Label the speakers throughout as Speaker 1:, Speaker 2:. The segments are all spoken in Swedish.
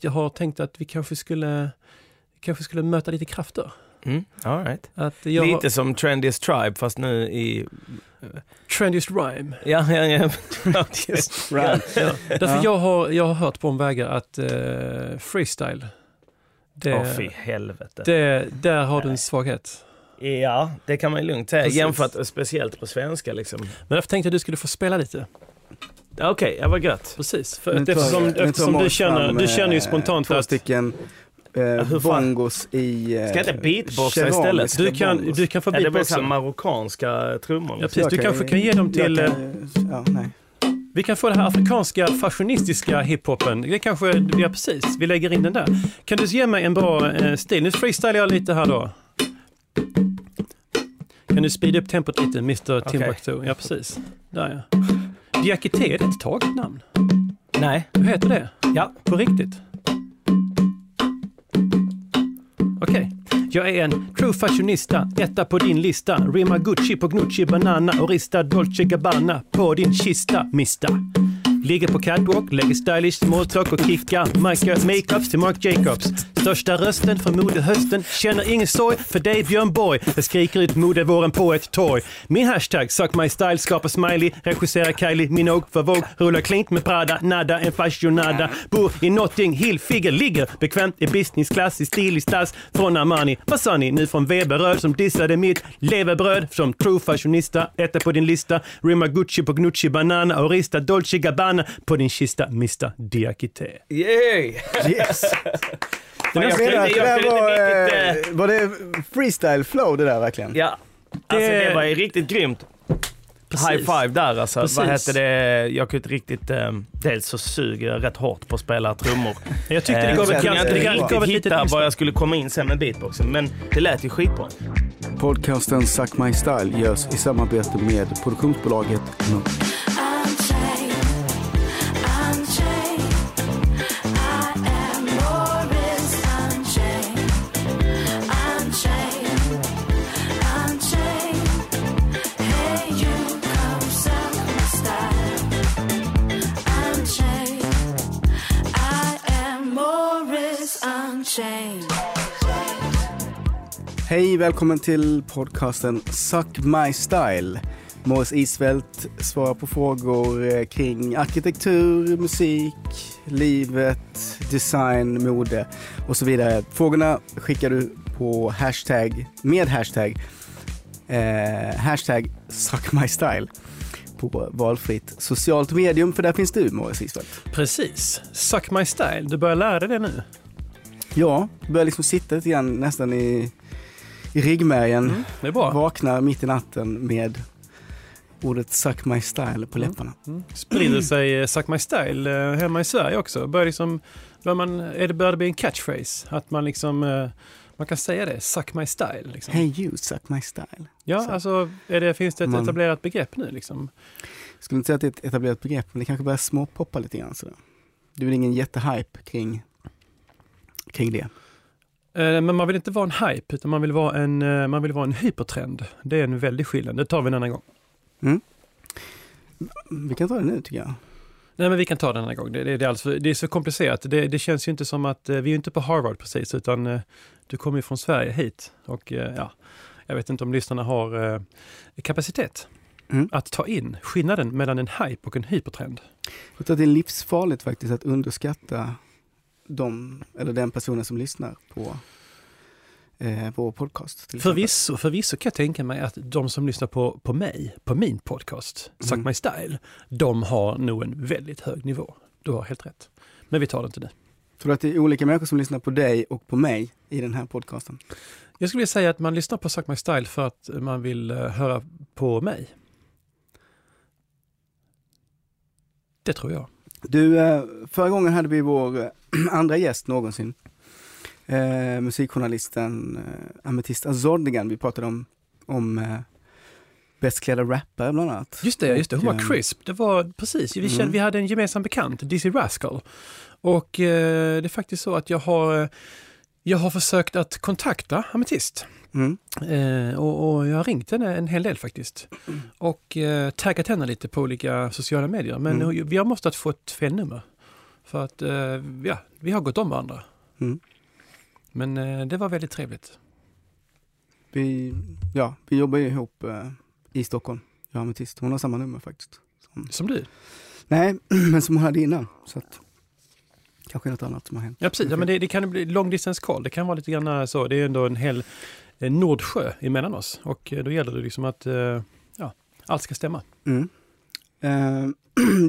Speaker 1: Jag har tänkt att vi kanske skulle, kanske skulle möta lite krafter.
Speaker 2: Mm. All right.
Speaker 1: Att jag
Speaker 2: Lite
Speaker 1: har
Speaker 2: som Trendiest Tribe fast nu i...
Speaker 1: trendiest rhyme.
Speaker 2: Ja, ja, ja.
Speaker 3: Right.
Speaker 1: Därför
Speaker 3: Ja.
Speaker 1: jag, har, jag har hört på omvägar att eh, freestyle, det,
Speaker 2: Åh fy helvete.
Speaker 1: det, där har du en svaghet.
Speaker 2: Ja, det kan man ju lugnt säga.
Speaker 1: Precis.
Speaker 2: Jämfört speciellt på svenska liksom.
Speaker 1: Men därför tänkte jag att du skulle få spela lite.
Speaker 2: Okej, ja, vad gött.
Speaker 1: Precis. För
Speaker 3: Nu
Speaker 1: att
Speaker 3: tar-
Speaker 1: eftersom,
Speaker 3: nu tar
Speaker 1: eftersom du,
Speaker 3: Måns
Speaker 1: känner,
Speaker 3: fram,
Speaker 1: du känner ju
Speaker 3: eh,
Speaker 1: spontant
Speaker 3: Två
Speaker 1: att
Speaker 3: stycken eh,
Speaker 2: hur fan?
Speaker 3: bongos i... Eh,
Speaker 2: Ska jag inte beatboxa
Speaker 3: keramiska
Speaker 2: istället?
Speaker 1: du kan,
Speaker 3: bongos.
Speaker 1: du kan få
Speaker 2: Ja, det blir
Speaker 1: beatboxen.
Speaker 2: som marockanska trummor.
Speaker 1: Ja,
Speaker 2: Liksom.
Speaker 1: precis. Du
Speaker 3: Jag
Speaker 1: kanske kan ge dem
Speaker 3: jag
Speaker 1: till... eh,
Speaker 3: kan- ja, nej.
Speaker 1: Vi kan få den här afrikanska fashionistiska hiphopen. Det kanske, ja precis, vi lägger in den där. Kan du ge mig en bra eh, stil? Nu freestylar jag lite här då. Kan du speeda upp tempot lite, Mr Timbuktu? Ja, precis. Där ja. Diakité, det är ett taget namn.
Speaker 2: Nej.
Speaker 1: Hur heter det?
Speaker 2: Ja.
Speaker 1: På riktigt? Okej. Jag är en true fashionista, etta på din lista. Rimmar Gucci på Gnucci Banana och ristar Dolce Gabbana på din kista, mista. Ligger på catwalk, lägger stylish smalltalk och kickar. Micah makeups till Marc Jacobs. Största rösten från modehösten. Känner ingen sorg för dig Björn Borg. Jag skriker ut modevåren på ett torg. Min hashtag suck my style skapar smiley. Regisserar Kylie Minogue för Vogue. Rullar klint med Prada. Nada en fashionada. Bor i Notting Hill. Figger ligger bekvämt i businessklass i stilig stass. Från Armani. Vad sa ni? Nu från Weberöd som dissade mitt levebröd. Som true fashionista. Etta på din lista. Rimmar Gucci på Gnucci Banana. Och rista Dolce Gabbana på din kista. Mista Diakité.
Speaker 2: Yay!
Speaker 3: Yes!
Speaker 2: Fan, jag kunde
Speaker 3: Menar,
Speaker 2: inte-
Speaker 3: det
Speaker 2: jag
Speaker 3: där
Speaker 2: kunde
Speaker 3: var,
Speaker 2: inte riktigt, eh,
Speaker 3: eh, var det freestyle flow det där verkligen?
Speaker 2: Ja. Alltså
Speaker 1: Det-
Speaker 2: det var ju riktigt grymt.
Speaker 1: Precis.
Speaker 2: High five där alltså.
Speaker 1: Precis.
Speaker 2: Vad hette det? Jag kunde inte riktigt... Eh, dels så suger jag rätt hårt på att spela trummor. Ehm,
Speaker 1: Jag tyckte det gav
Speaker 2: jag
Speaker 1: ett
Speaker 3: känns-
Speaker 1: ganska...
Speaker 2: kunde
Speaker 1: Det
Speaker 2: inte
Speaker 3: gav
Speaker 1: gav ett
Speaker 2: riktigt
Speaker 1: litet
Speaker 2: hitta var
Speaker 1: inslag.
Speaker 2: jag skulle komma in sen med beatboxen, men det lät ju skitbra.
Speaker 4: Podcasten Suck My Style görs i samarbete med produktionsbolaget Nook.
Speaker 5: I'm changed. I'm changed. I am Morris. I'm changed. I'm changed. I'm changed. Hey, you come suck my style. I'm changed. I am Morris. I'm changed.
Speaker 4: Hej, välkommen till podcasten Suck My Style. Morris Isfält svarar på frågor eh, kring arkitektur, musik, livet, design, mode och så vidare. Frågorna skickar du på hashtag, med hashtag, eh, hashtag Suck My Style på valfritt socialt medium, för där finns du Morris Isfält.
Speaker 1: Precis. Suck my style. Du börjar lära dig det
Speaker 2: Mm.
Speaker 1: nu.
Speaker 4: Ja, börjar liksom sitta lite grann nästan i, i ryggmärgen.
Speaker 1: Mm, Det är bra.
Speaker 4: Vaknar mitt i natten med ordet suck my style på läpparna.
Speaker 1: Mm. Sprider sig eh, Suck My Style eh, hemma i Sverige också. Börjar liksom, börjar man, är det, börjar det bli en catchphrase? Att man liksom, eh, man kan säga det, Suck My Style. Liksom.
Speaker 4: Hey you, suck my style.
Speaker 1: Ja,
Speaker 4: så.
Speaker 1: alltså är det, finns det ett
Speaker 4: Man-
Speaker 1: etablerat begrepp nu liksom?
Speaker 4: Skulle inte säga att det är ett etablerat begrepp, men det kanske börjar småpoppa lite grann sådär. Det är väl ingen jättehype kring, kring det.
Speaker 1: Eh, Men man vill inte vara en hype, utan man vill vara en, eh, man vill vara en hypertrend. Det är en väldig skillnad. Det tar vi en annan gång.
Speaker 4: Vi kan ta det nu tycker jag.
Speaker 1: Nej, men vi kan ta den här gång. Det, det, det, är alltså, det är så komplicerat. Det, det känns ju inte som att, eh, vi är ju inte på Harvard precis, utan eh, du kommer ju från Sverige hit. Och eh, ja, jag vet inte om lyssnarna har eh, kapacitet
Speaker 4: Mm.
Speaker 1: att ta in skillnaden mellan en hype och en hypertrend.
Speaker 4: Jag tror att det är livsfarligt faktiskt att underskatta de, eller den personen som lyssnar på eh, vår podcast. till exempel.
Speaker 1: Förvisso, förvisso kan jag tänka mig att de som lyssnar på, på mig, på min podcast, Suck
Speaker 4: Mm.
Speaker 1: My Style, de har nog en väldigt hög nivå. Du har helt rätt. Men vi tar det inte nu.
Speaker 4: Tror du att det är olika människor som lyssnar på dig och på mig i den här podcasten?
Speaker 1: Jag skulle vilja säga att man lyssnar på Suck My Style för att man vill eh, höra på mig. Det tror jag.
Speaker 4: Du, eh, förra gången hade vi vår eh, andra gäst någonsin. Eh, musikjournalisten eh, Ametist Azordigan. Vi pratade om, om eh, bäst klädda rappare bland annat.
Speaker 1: Just det, just det. Hon var
Speaker 4: Och, eh,
Speaker 1: crisp. Det var precis. Vi, kände,
Speaker 4: Mm.
Speaker 1: vi hade en gemensam bekant, Dizzy Rascal. Och eh, det är faktiskt så att jag har, eh, jag har försökt att kontakta Ametist.
Speaker 4: Mm.
Speaker 1: Eh, och, och jag har ringt henne en hel del faktiskt. Och eh, taggat henne lite på olika sociala medier. Men
Speaker 4: Mm.
Speaker 1: hon- vi har måste ha fått fel nummer. För att eh, ja, vi har gått om varandra.
Speaker 4: Mm.
Speaker 1: Men eh, det var väldigt trevligt.
Speaker 4: Vi, ja, vi jobbar ju ihop eh, i Stockholm, jag är ametist. Hon har samma nummer faktiskt.
Speaker 1: Som du.
Speaker 4: Nej, men som hon hade innan. Så att, kanske något annat som har hänt.
Speaker 1: Ja, precis. Ja, men det, det kan bli long distance call. Det kan vara lite grann eh, så. Det är ändå en hel eh, Nordsjö emellan oss. Och eh, då gäller det liksom att eh, ja, allt ska stämma.
Speaker 4: Mm. Eh,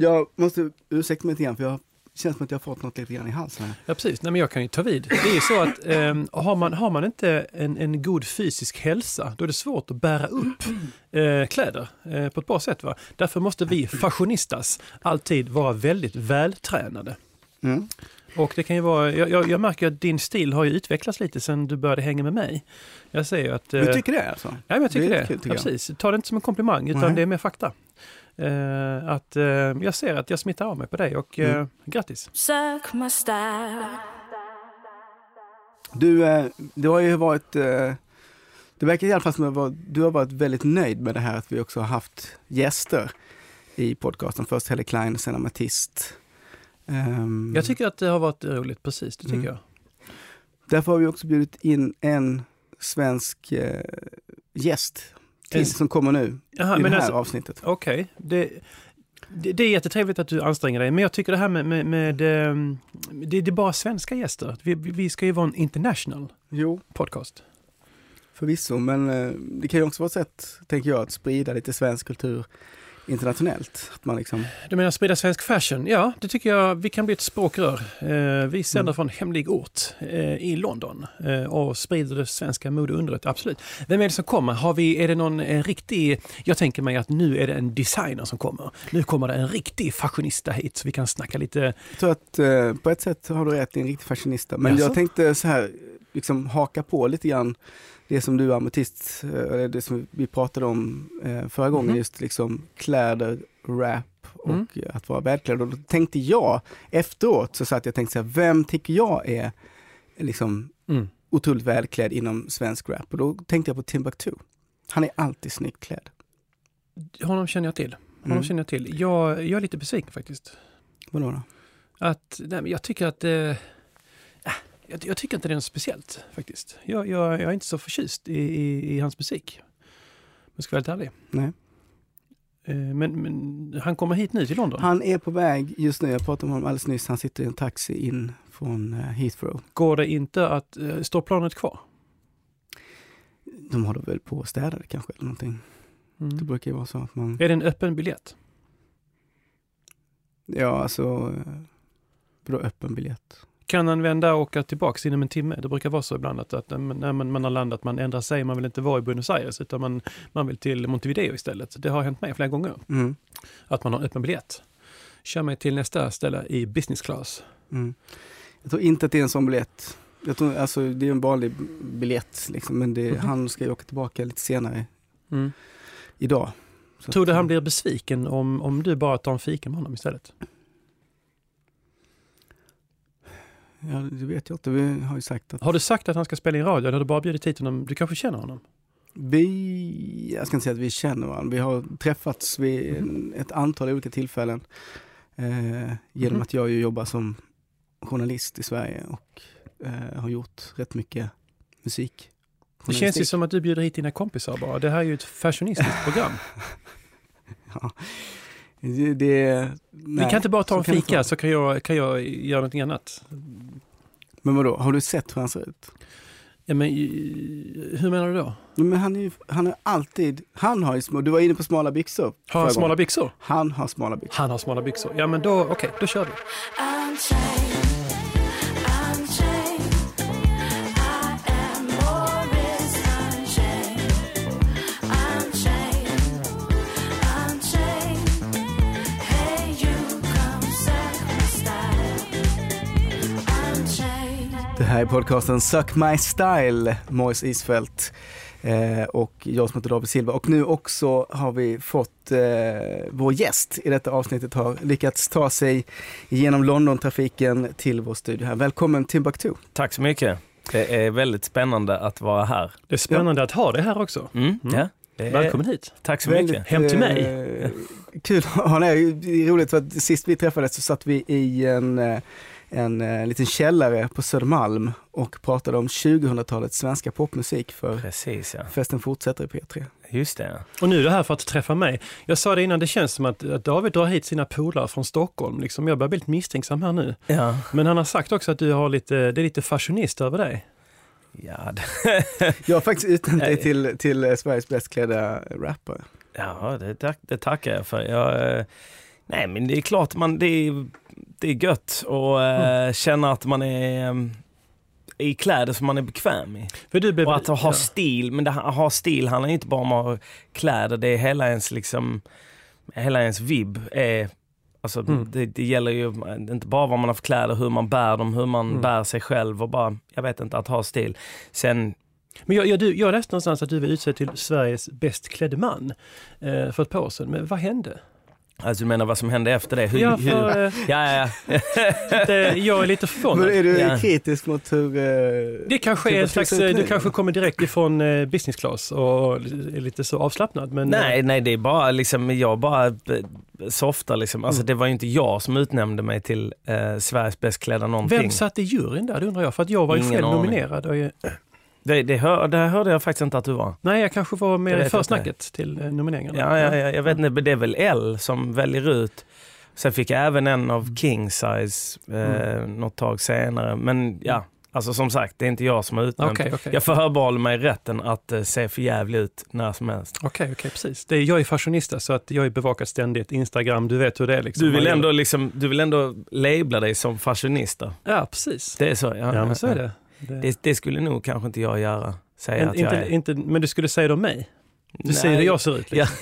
Speaker 4: jag måste ursäkta mig lite grann, för jag känns som att jag har fått något lite grann i halsen här.
Speaker 1: Ja, precis. Nej, men jag kan ju ta vid. Det är ju så att eh, har, man, har man inte en, en god fysisk hälsa, då är det svårt att bära upp eh, kläder eh, på ett bra sätt. Va? Därför måste vi fashionistas alltid vara väldigt vältränade.
Speaker 4: Mm.
Speaker 1: Och det kan ju vara, jag, jag, jag märker att din stil har ju utvecklats lite sen du började hänga med mig. Jag säger ju att... eh,
Speaker 4: Du tycker det alltså?
Speaker 1: Ja, men jag tycker
Speaker 4: Det
Speaker 1: det.
Speaker 4: är kul, tycker
Speaker 1: ja,
Speaker 4: jag.
Speaker 1: precis. Ta det inte som en komplimang, utan
Speaker 4: Nej.
Speaker 1: det är mer fakta. Eh, att eh, jag ser att jag smittar av mig på dig och eh,
Speaker 4: Mm.
Speaker 1: grattis.
Speaker 5: Suck my style.
Speaker 4: Du, eh, du har ju varit, eh, det verkar i alla fall som att vara- du har varit väldigt nöjd med det här att vi också har haft gäster i podcasten. Först Helle Klein, sen Amatist. Ehm,
Speaker 1: Jag tycker att det har varit roligt, precis. Det tycker
Speaker 4: Mm.
Speaker 1: jag.
Speaker 4: Därför har vi också bjudit in en svensk eh, gäst till,
Speaker 1: En-
Speaker 4: som kommer nu
Speaker 1: Jaha,
Speaker 4: i det
Speaker 1: men
Speaker 4: här
Speaker 1: alltså,
Speaker 4: avsnittet.
Speaker 1: Okej, det, det, det är jättetrevligt att du anstränger dig, men jag tycker det här med, med, med ehm, det, det är bara svenska gäster. Vi, vi ska ju vara en international
Speaker 4: Jo,
Speaker 1: podcast.
Speaker 4: förvisso, men eh, det kan ju också vara ett sätt, tänker jag, att sprida lite svensk kultur internationellt. Att man liksom,
Speaker 1: Du menar sprida svensk fashion? Ja, det tycker jag. Vi kan bli ett språkrör. Eh, vi sänder
Speaker 4: Mm.
Speaker 1: från hemlig ort eh, i London eh, och sprider det svenska modeundret, absolut. Vem är det som kommer? Har vi, är det någon eh, riktig... Jag tänker mig att nu är det en designer som kommer. Nu kommer det en riktig fashionista hit så vi kan snacka lite...
Speaker 4: jag tror att eh, på ett sätt har du rätt, det är en riktig fashionista. Men
Speaker 1: Jaså?
Speaker 4: jag tänkte så här, liksom haka på lite grann det som du amatist, eh, eller det som vi pratade om eh, förra gången,
Speaker 1: Mhm.
Speaker 4: just liksom kläder, rap och
Speaker 1: Mm.
Speaker 4: eh, att vara välklädd. Och då tänkte jag, efteråt så satt jag och tänkte så här, vem tycker jag är liksom
Speaker 1: Mm.
Speaker 4: otroligt välklädd inom svensk rap? Och då tänkte jag på Timbuktu. Han är alltid snyggt klädd.
Speaker 1: Honom känner jag till. Honom
Speaker 4: Mm.
Speaker 1: känner jag till. Jag, jag är lite besviken faktiskt.
Speaker 4: Vadå då?
Speaker 1: Att, nej, men jag tycker att... Eh, äh, jag, jag tycker inte det är något speciellt faktiskt. Jag, jag, jag är inte så förtjust i, i, i hans musik. Om jag ska vara helt ärlig.
Speaker 4: Nej.
Speaker 1: Eh, men, men han kommer hit nu till London.
Speaker 4: Han är på väg just nu, jag pratade om honom alldeles nyss, han sitter i en taxi in från eh, Heathrow.
Speaker 1: Går det inte att... Eh, står planet kvar?
Speaker 4: De håller väl på och städar kanske eller någonting. Det brukar ju vara så att man,
Speaker 1: Mm. Är det en öppen biljett?
Speaker 4: ja alltså, eh, vadå öppen biljett?
Speaker 1: Kan han vända och åka tillbaks inom en timme? Det brukar vara så ibland att, att eh, men- när man, man har landat, man ändrar sig, man vill inte vara i Buenos Aires utan man, man vill till Montevideo istället. Det har hänt mig flera gånger.
Speaker 4: Mm.
Speaker 1: att man har öppen biljett. Kör mig till nästa ställe i business class.
Speaker 4: Mm. Jag tror inte att det är en sån biljett. Jag tror, alltså, det är en vanlig biljett, liksom, men det,
Speaker 1: Mhm.
Speaker 4: han ska ju åka tillbaka lite senare Mm. idag. Så
Speaker 1: Tror du
Speaker 4: att-
Speaker 1: han blir besviken om, om du bara tar en fika med honom istället?
Speaker 4: Ja, det vet jag inte. Vi har ju sagt att
Speaker 1: Har du sagt att han ska spela in radio eller har du bara bjudit hit honom? Du kanske känner honom?
Speaker 4: vi, jag ska inte säga att vi känner varandra. Vi har träffats vid en- ett antal olika tillfällen. Eh, genom
Speaker 1: Mhm.
Speaker 4: att jag ju jobbar som journalist i Sverige och eh, har gjort rätt mycket musik.
Speaker 1: Det känns ju som att du bjuder hit dina kompisar bara. Det här är ju ett fashionistiskt program.
Speaker 4: Ja. Det, det,
Speaker 1: Vi
Speaker 4: nej.
Speaker 1: kan inte bara ta
Speaker 4: så
Speaker 1: en
Speaker 4: kan det inte
Speaker 1: fika
Speaker 4: vara.
Speaker 1: så kan jag, kan jag göra någonting annat.
Speaker 4: Men vadå, har du sett hur han ser ut?
Speaker 1: Ja, men, eh, hur menar du då?
Speaker 4: Ja, Men han är ju, han är alltid, han har ju små, du var inne på smala byxor.
Speaker 1: Har han
Speaker 4: förra
Speaker 1: smala
Speaker 4: gången.
Speaker 1: byxor?
Speaker 4: Han har smala byxor.
Speaker 1: Han har smala byxor. Ja men då, okej, då kör vi.
Speaker 5: I'm chained. I'm chained. I am Boris. I'm chained. I'm chained. I'm chained. Hey, you come suck my style. I'm chained.
Speaker 4: Det här är podcasten Suck My Style, Mois Isfält eh, och jag som heter David Silva. Och nu också har vi fått eh, vår gäst i detta avsnittet har lyckats ta sig genom London-trafiken till vår studio här. Välkommen Timbuktu.
Speaker 2: Tack så mycket. Det är väldigt spännande att vara här.
Speaker 1: Det är spännande att ha det här också.
Speaker 2: Mm.
Speaker 1: Mm.
Speaker 2: Ja. Det är-
Speaker 1: Välkommen hit.
Speaker 2: Tack så mycket.
Speaker 4: Väldigt,
Speaker 1: Hem till
Speaker 4: eh,
Speaker 1: mig.
Speaker 4: kul att ha dig. Det är roligt för att sist vi träffades så satt vi i en, eh, en eh, liten källare på Södermalm och pratade om 2000-talets svenska popmusik för
Speaker 2: Precis ja.
Speaker 4: Festen fortsätter i P3.
Speaker 2: Just det.
Speaker 1: Och nu är du här för att träffa mig. Jag sa det innan, det känns som att, att David drar hit sina polare från Stockholm. Liksom. Jag börjar bli lite misstänksam här nu.
Speaker 2: Ja,
Speaker 1: Men han har sagt också att du har lite, det är lite fashionist över dig.
Speaker 2: ja, det,
Speaker 4: Jag har faktiskt utnämnt dig
Speaker 2: Nej.
Speaker 4: till, till eh, Sveriges bäst klädda rappare.
Speaker 2: ja det, tack, det tackar jag för. Jag, eh, nej men det är klart, man, det, är, det är gött att eh,
Speaker 1: Mm.
Speaker 2: känna att man är eh, i kläder som man är bekväm i.
Speaker 1: För du blev,
Speaker 2: Och att ha
Speaker 1: ja.
Speaker 2: stil, men det, att ha stil handlar inte bara om att ha kläder, det är hela ens liksom, hela ens vibb är, alltså
Speaker 1: Mm.
Speaker 2: det, det gäller ju eh, inte bara vad man har för kläder, hur man bär dem, hur man
Speaker 1: Mm.
Speaker 2: bär sig själv och bara, jag vet inte, att ha stil. Sen,
Speaker 1: Men jag, jag, du, jag läste någonstans att du var utsedd till Sveriges bäst klädde man eh, för ett par år sedan. Men vad hände?
Speaker 2: alltså du menar vad som hände efter det? Hur,
Speaker 1: Ja,
Speaker 2: hur,
Speaker 1: för, eh,
Speaker 2: ja, ja, ja.
Speaker 1: att, eh, jag är lite
Speaker 4: Men
Speaker 1: förvånad.
Speaker 4: är du
Speaker 2: Ja.
Speaker 4: kritisk mot hur... eh,
Speaker 1: Det kanske är
Speaker 4: Typ
Speaker 1: en
Speaker 4: att
Speaker 1: slags,
Speaker 4: fixa upp
Speaker 1: eh, du
Speaker 4: grejer.
Speaker 1: kanske kommer direkt ifrån eh, business class och är lite så avslappnad. Men, eh,
Speaker 2: Nej, nej det är bara liksom, jag bara b- softar liksom. Alltså
Speaker 1: Mm.
Speaker 2: det var ju inte jag som utnämnde mig till eh, Sveriges bäst klädda någonting.
Speaker 1: Vem satt i juryn där, det undrar jag. För att jag var ju
Speaker 2: Ingen
Speaker 1: själv
Speaker 2: aning.
Speaker 1: nominerad. Och, eh,
Speaker 2: Det, det, hör, det här hörde jag faktiskt inte att du var.
Speaker 1: nej, jag kanske var
Speaker 2: Det
Speaker 1: med i
Speaker 2: vet jag
Speaker 1: försnacket till eh, nomineringarna.
Speaker 2: Ja, ja, ja, jag vet inte, men det är väl L som väljer ut. Sen fick jag även en
Speaker 1: Mm.
Speaker 2: av King Size eh, något tag senare. Men ja, alltså som sagt, det är inte jag som har utnämnt.
Speaker 1: Okej, okej.
Speaker 2: Jag förbehåller mig rätten att eh, se för jävligt ut när som helst.
Speaker 1: Okej, okej, precis. Det är, jag är fashionista så att jag är bevakat ständigt. Instagram, du vet hur det är. Liksom.
Speaker 2: Du vill ändå, liksom, du vill ändå labla dig som fashionista.
Speaker 1: Ja, precis.
Speaker 2: Det är så? Ja,
Speaker 1: Ja, men så är det. det,
Speaker 2: det. Det skulle nog kanske inte jag göra. Säga
Speaker 1: En-
Speaker 2: att jag
Speaker 1: inte,
Speaker 2: är.
Speaker 1: inte, men du skulle säga det om mig? Du
Speaker 2: Nej.
Speaker 1: säger hur jag ser ut? Liksom.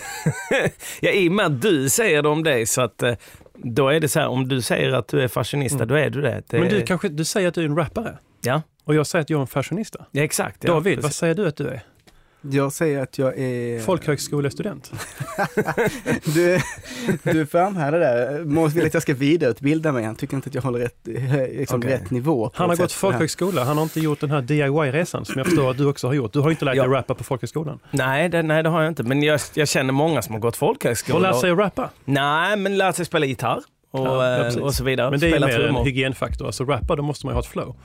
Speaker 2: Ja. Ja, I och med att du säger det om dig så att eh, då är det så här, om du säger att du är fashionista,
Speaker 1: Mm.
Speaker 2: då är du det. det
Speaker 1: Men du, kanske, du säger att du är en rappare?
Speaker 2: Ja.
Speaker 1: Och jag säger att jag är en fashionista?
Speaker 2: Ja, exakt. Ja,
Speaker 1: David, vad
Speaker 2: precis.
Speaker 1: säger du att du är?
Speaker 4: Jag säger att jag är...
Speaker 1: Folkhögskolestudent?
Speaker 4: Du, du framhärdar där. Måns vill att jag ska vidareutbilda mig. Han tycker inte att jag håller rätt, eh, liksom
Speaker 2: Okej.
Speaker 4: rätt nivå. på
Speaker 1: Han har
Speaker 4: ett
Speaker 1: gått
Speaker 4: sätt för det här.
Speaker 1: folkhögskola, han har inte gjort den här DIY-resan som jag förstår att du också har gjort. Du har ju inte lärt dig
Speaker 2: Ja.
Speaker 1: rappa på folkhögskolan.
Speaker 2: nej, det, nej, det har jag inte. Men jag, jag känner många som har gått
Speaker 1: Och
Speaker 2: folkhögskola.
Speaker 1: lärt sig att rappa.
Speaker 2: Nej, men lärt sig spela gitarr och,
Speaker 1: Ja, ja,
Speaker 2: eh,
Speaker 1: precis.
Speaker 2: och så vidare.
Speaker 1: Men det är ju
Speaker 2: spela
Speaker 1: mer en
Speaker 2: trummor.
Speaker 1: hygienfaktor. Alltså rappa, då måste man ju ha ett flow.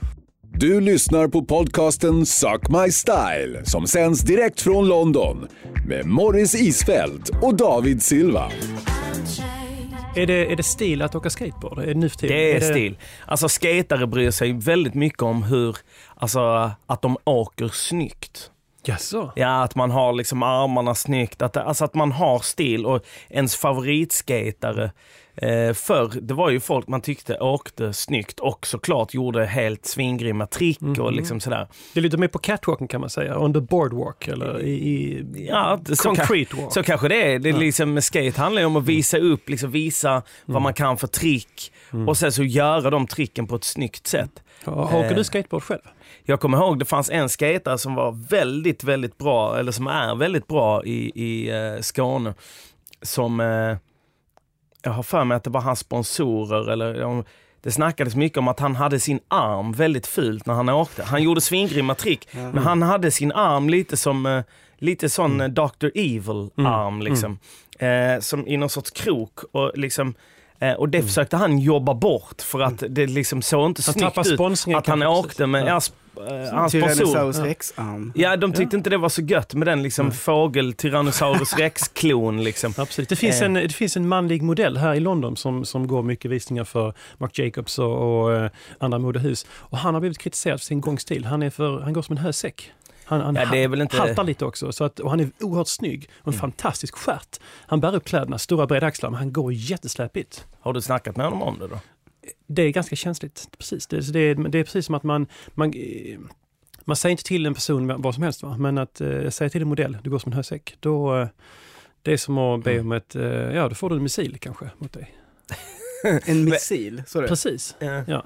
Speaker 6: Du lyssnar på podcasten Suck My Style som sänds direkt från London med Morris Isfält och David Silva.
Speaker 1: Är det, är det stil att åka skateboard? Är det nu för tiden?
Speaker 2: Det är stil. Alltså skatare bryr sig väldigt mycket om hur, alltså att de åker snyggt.
Speaker 1: Jaså?
Speaker 2: Ja, att man har liksom armarna snyggt, att, alltså att man har stil och ens favoritskatare eh, förr, det var ju folk man tyckte åkte snyggt och såklart gjorde helt svingrymma trick
Speaker 1: Mhm.
Speaker 2: och liksom sådär.
Speaker 1: Det är lite mer på catwalken kan man säga. On the boardwalk eller i, i
Speaker 2: Ja, så, kan,
Speaker 1: concrete walk. Mm.
Speaker 2: så kanske det är. Det är liksom, skate handlar ju om att visa upp, liksom visa vad man kan för trick
Speaker 1: Mm.
Speaker 2: och sen så göra de tricken på ett snyggt sätt.
Speaker 1: Ja, Åker
Speaker 2: Eh.
Speaker 1: du skateboard själv?
Speaker 2: Jag kommer ihåg det fanns en skatare som var väldigt, väldigt bra, eller som är väldigt bra i, i eh, Skåne. Som, eh, jag har för mig att det var hans sponsorer eller om, det snackades mycket om att han hade sin arm väldigt fult när han åkte. Han gjorde svingrymma trick, men han hade sin arm lite som eh, lite sån eh, Dr. Evil-arm. Liksom. Eh, som i någon sorts krok. Och, liksom, eh, och det försökte han jobba bort för att det liksom såg inte
Speaker 1: Han
Speaker 2: snyggt
Speaker 1: tappar
Speaker 2: ut
Speaker 1: sponsringen
Speaker 2: att han
Speaker 1: kanske,
Speaker 2: åkte med, ja. sp- eh, hans sponsor.
Speaker 4: Tyrannosaurus rex-arm.
Speaker 2: Ja, de tyckte inte det var så gött med den liksom fågel Tyrannosaurus rex-klon liksom.
Speaker 1: Ja, precis. Det, finns
Speaker 2: Eh.
Speaker 1: en, det finns en manlig modell här i London som, som går mycket visningar för Marc Jacobs och, och eh, andra modehus. Och han har blivit kritiserad för sin gångstil. Han, är för, han går som en hösäck. Han, han
Speaker 2: Ja, det är väl inte- Mm.
Speaker 1: haltar lite också. Så att, och han är oerhört snygg och en fantastisk stjärt. Han bär upp kläderna, stora breda axlar, men han går jättesläpigt.
Speaker 2: Har du snackat med honom om det då?
Speaker 1: Det är ganska känsligt. Precis. Det, det, är, det är precis som att man, man, eh, man säger inte till en person vad som helst, va? men att eh, säga till en modell, du går som en hösäck, då eh, det är som att
Speaker 2: Mm.
Speaker 1: be om ett, eh, ja då får du en missil kanske mot dig.
Speaker 4: En missil, sa du?
Speaker 1: Precis.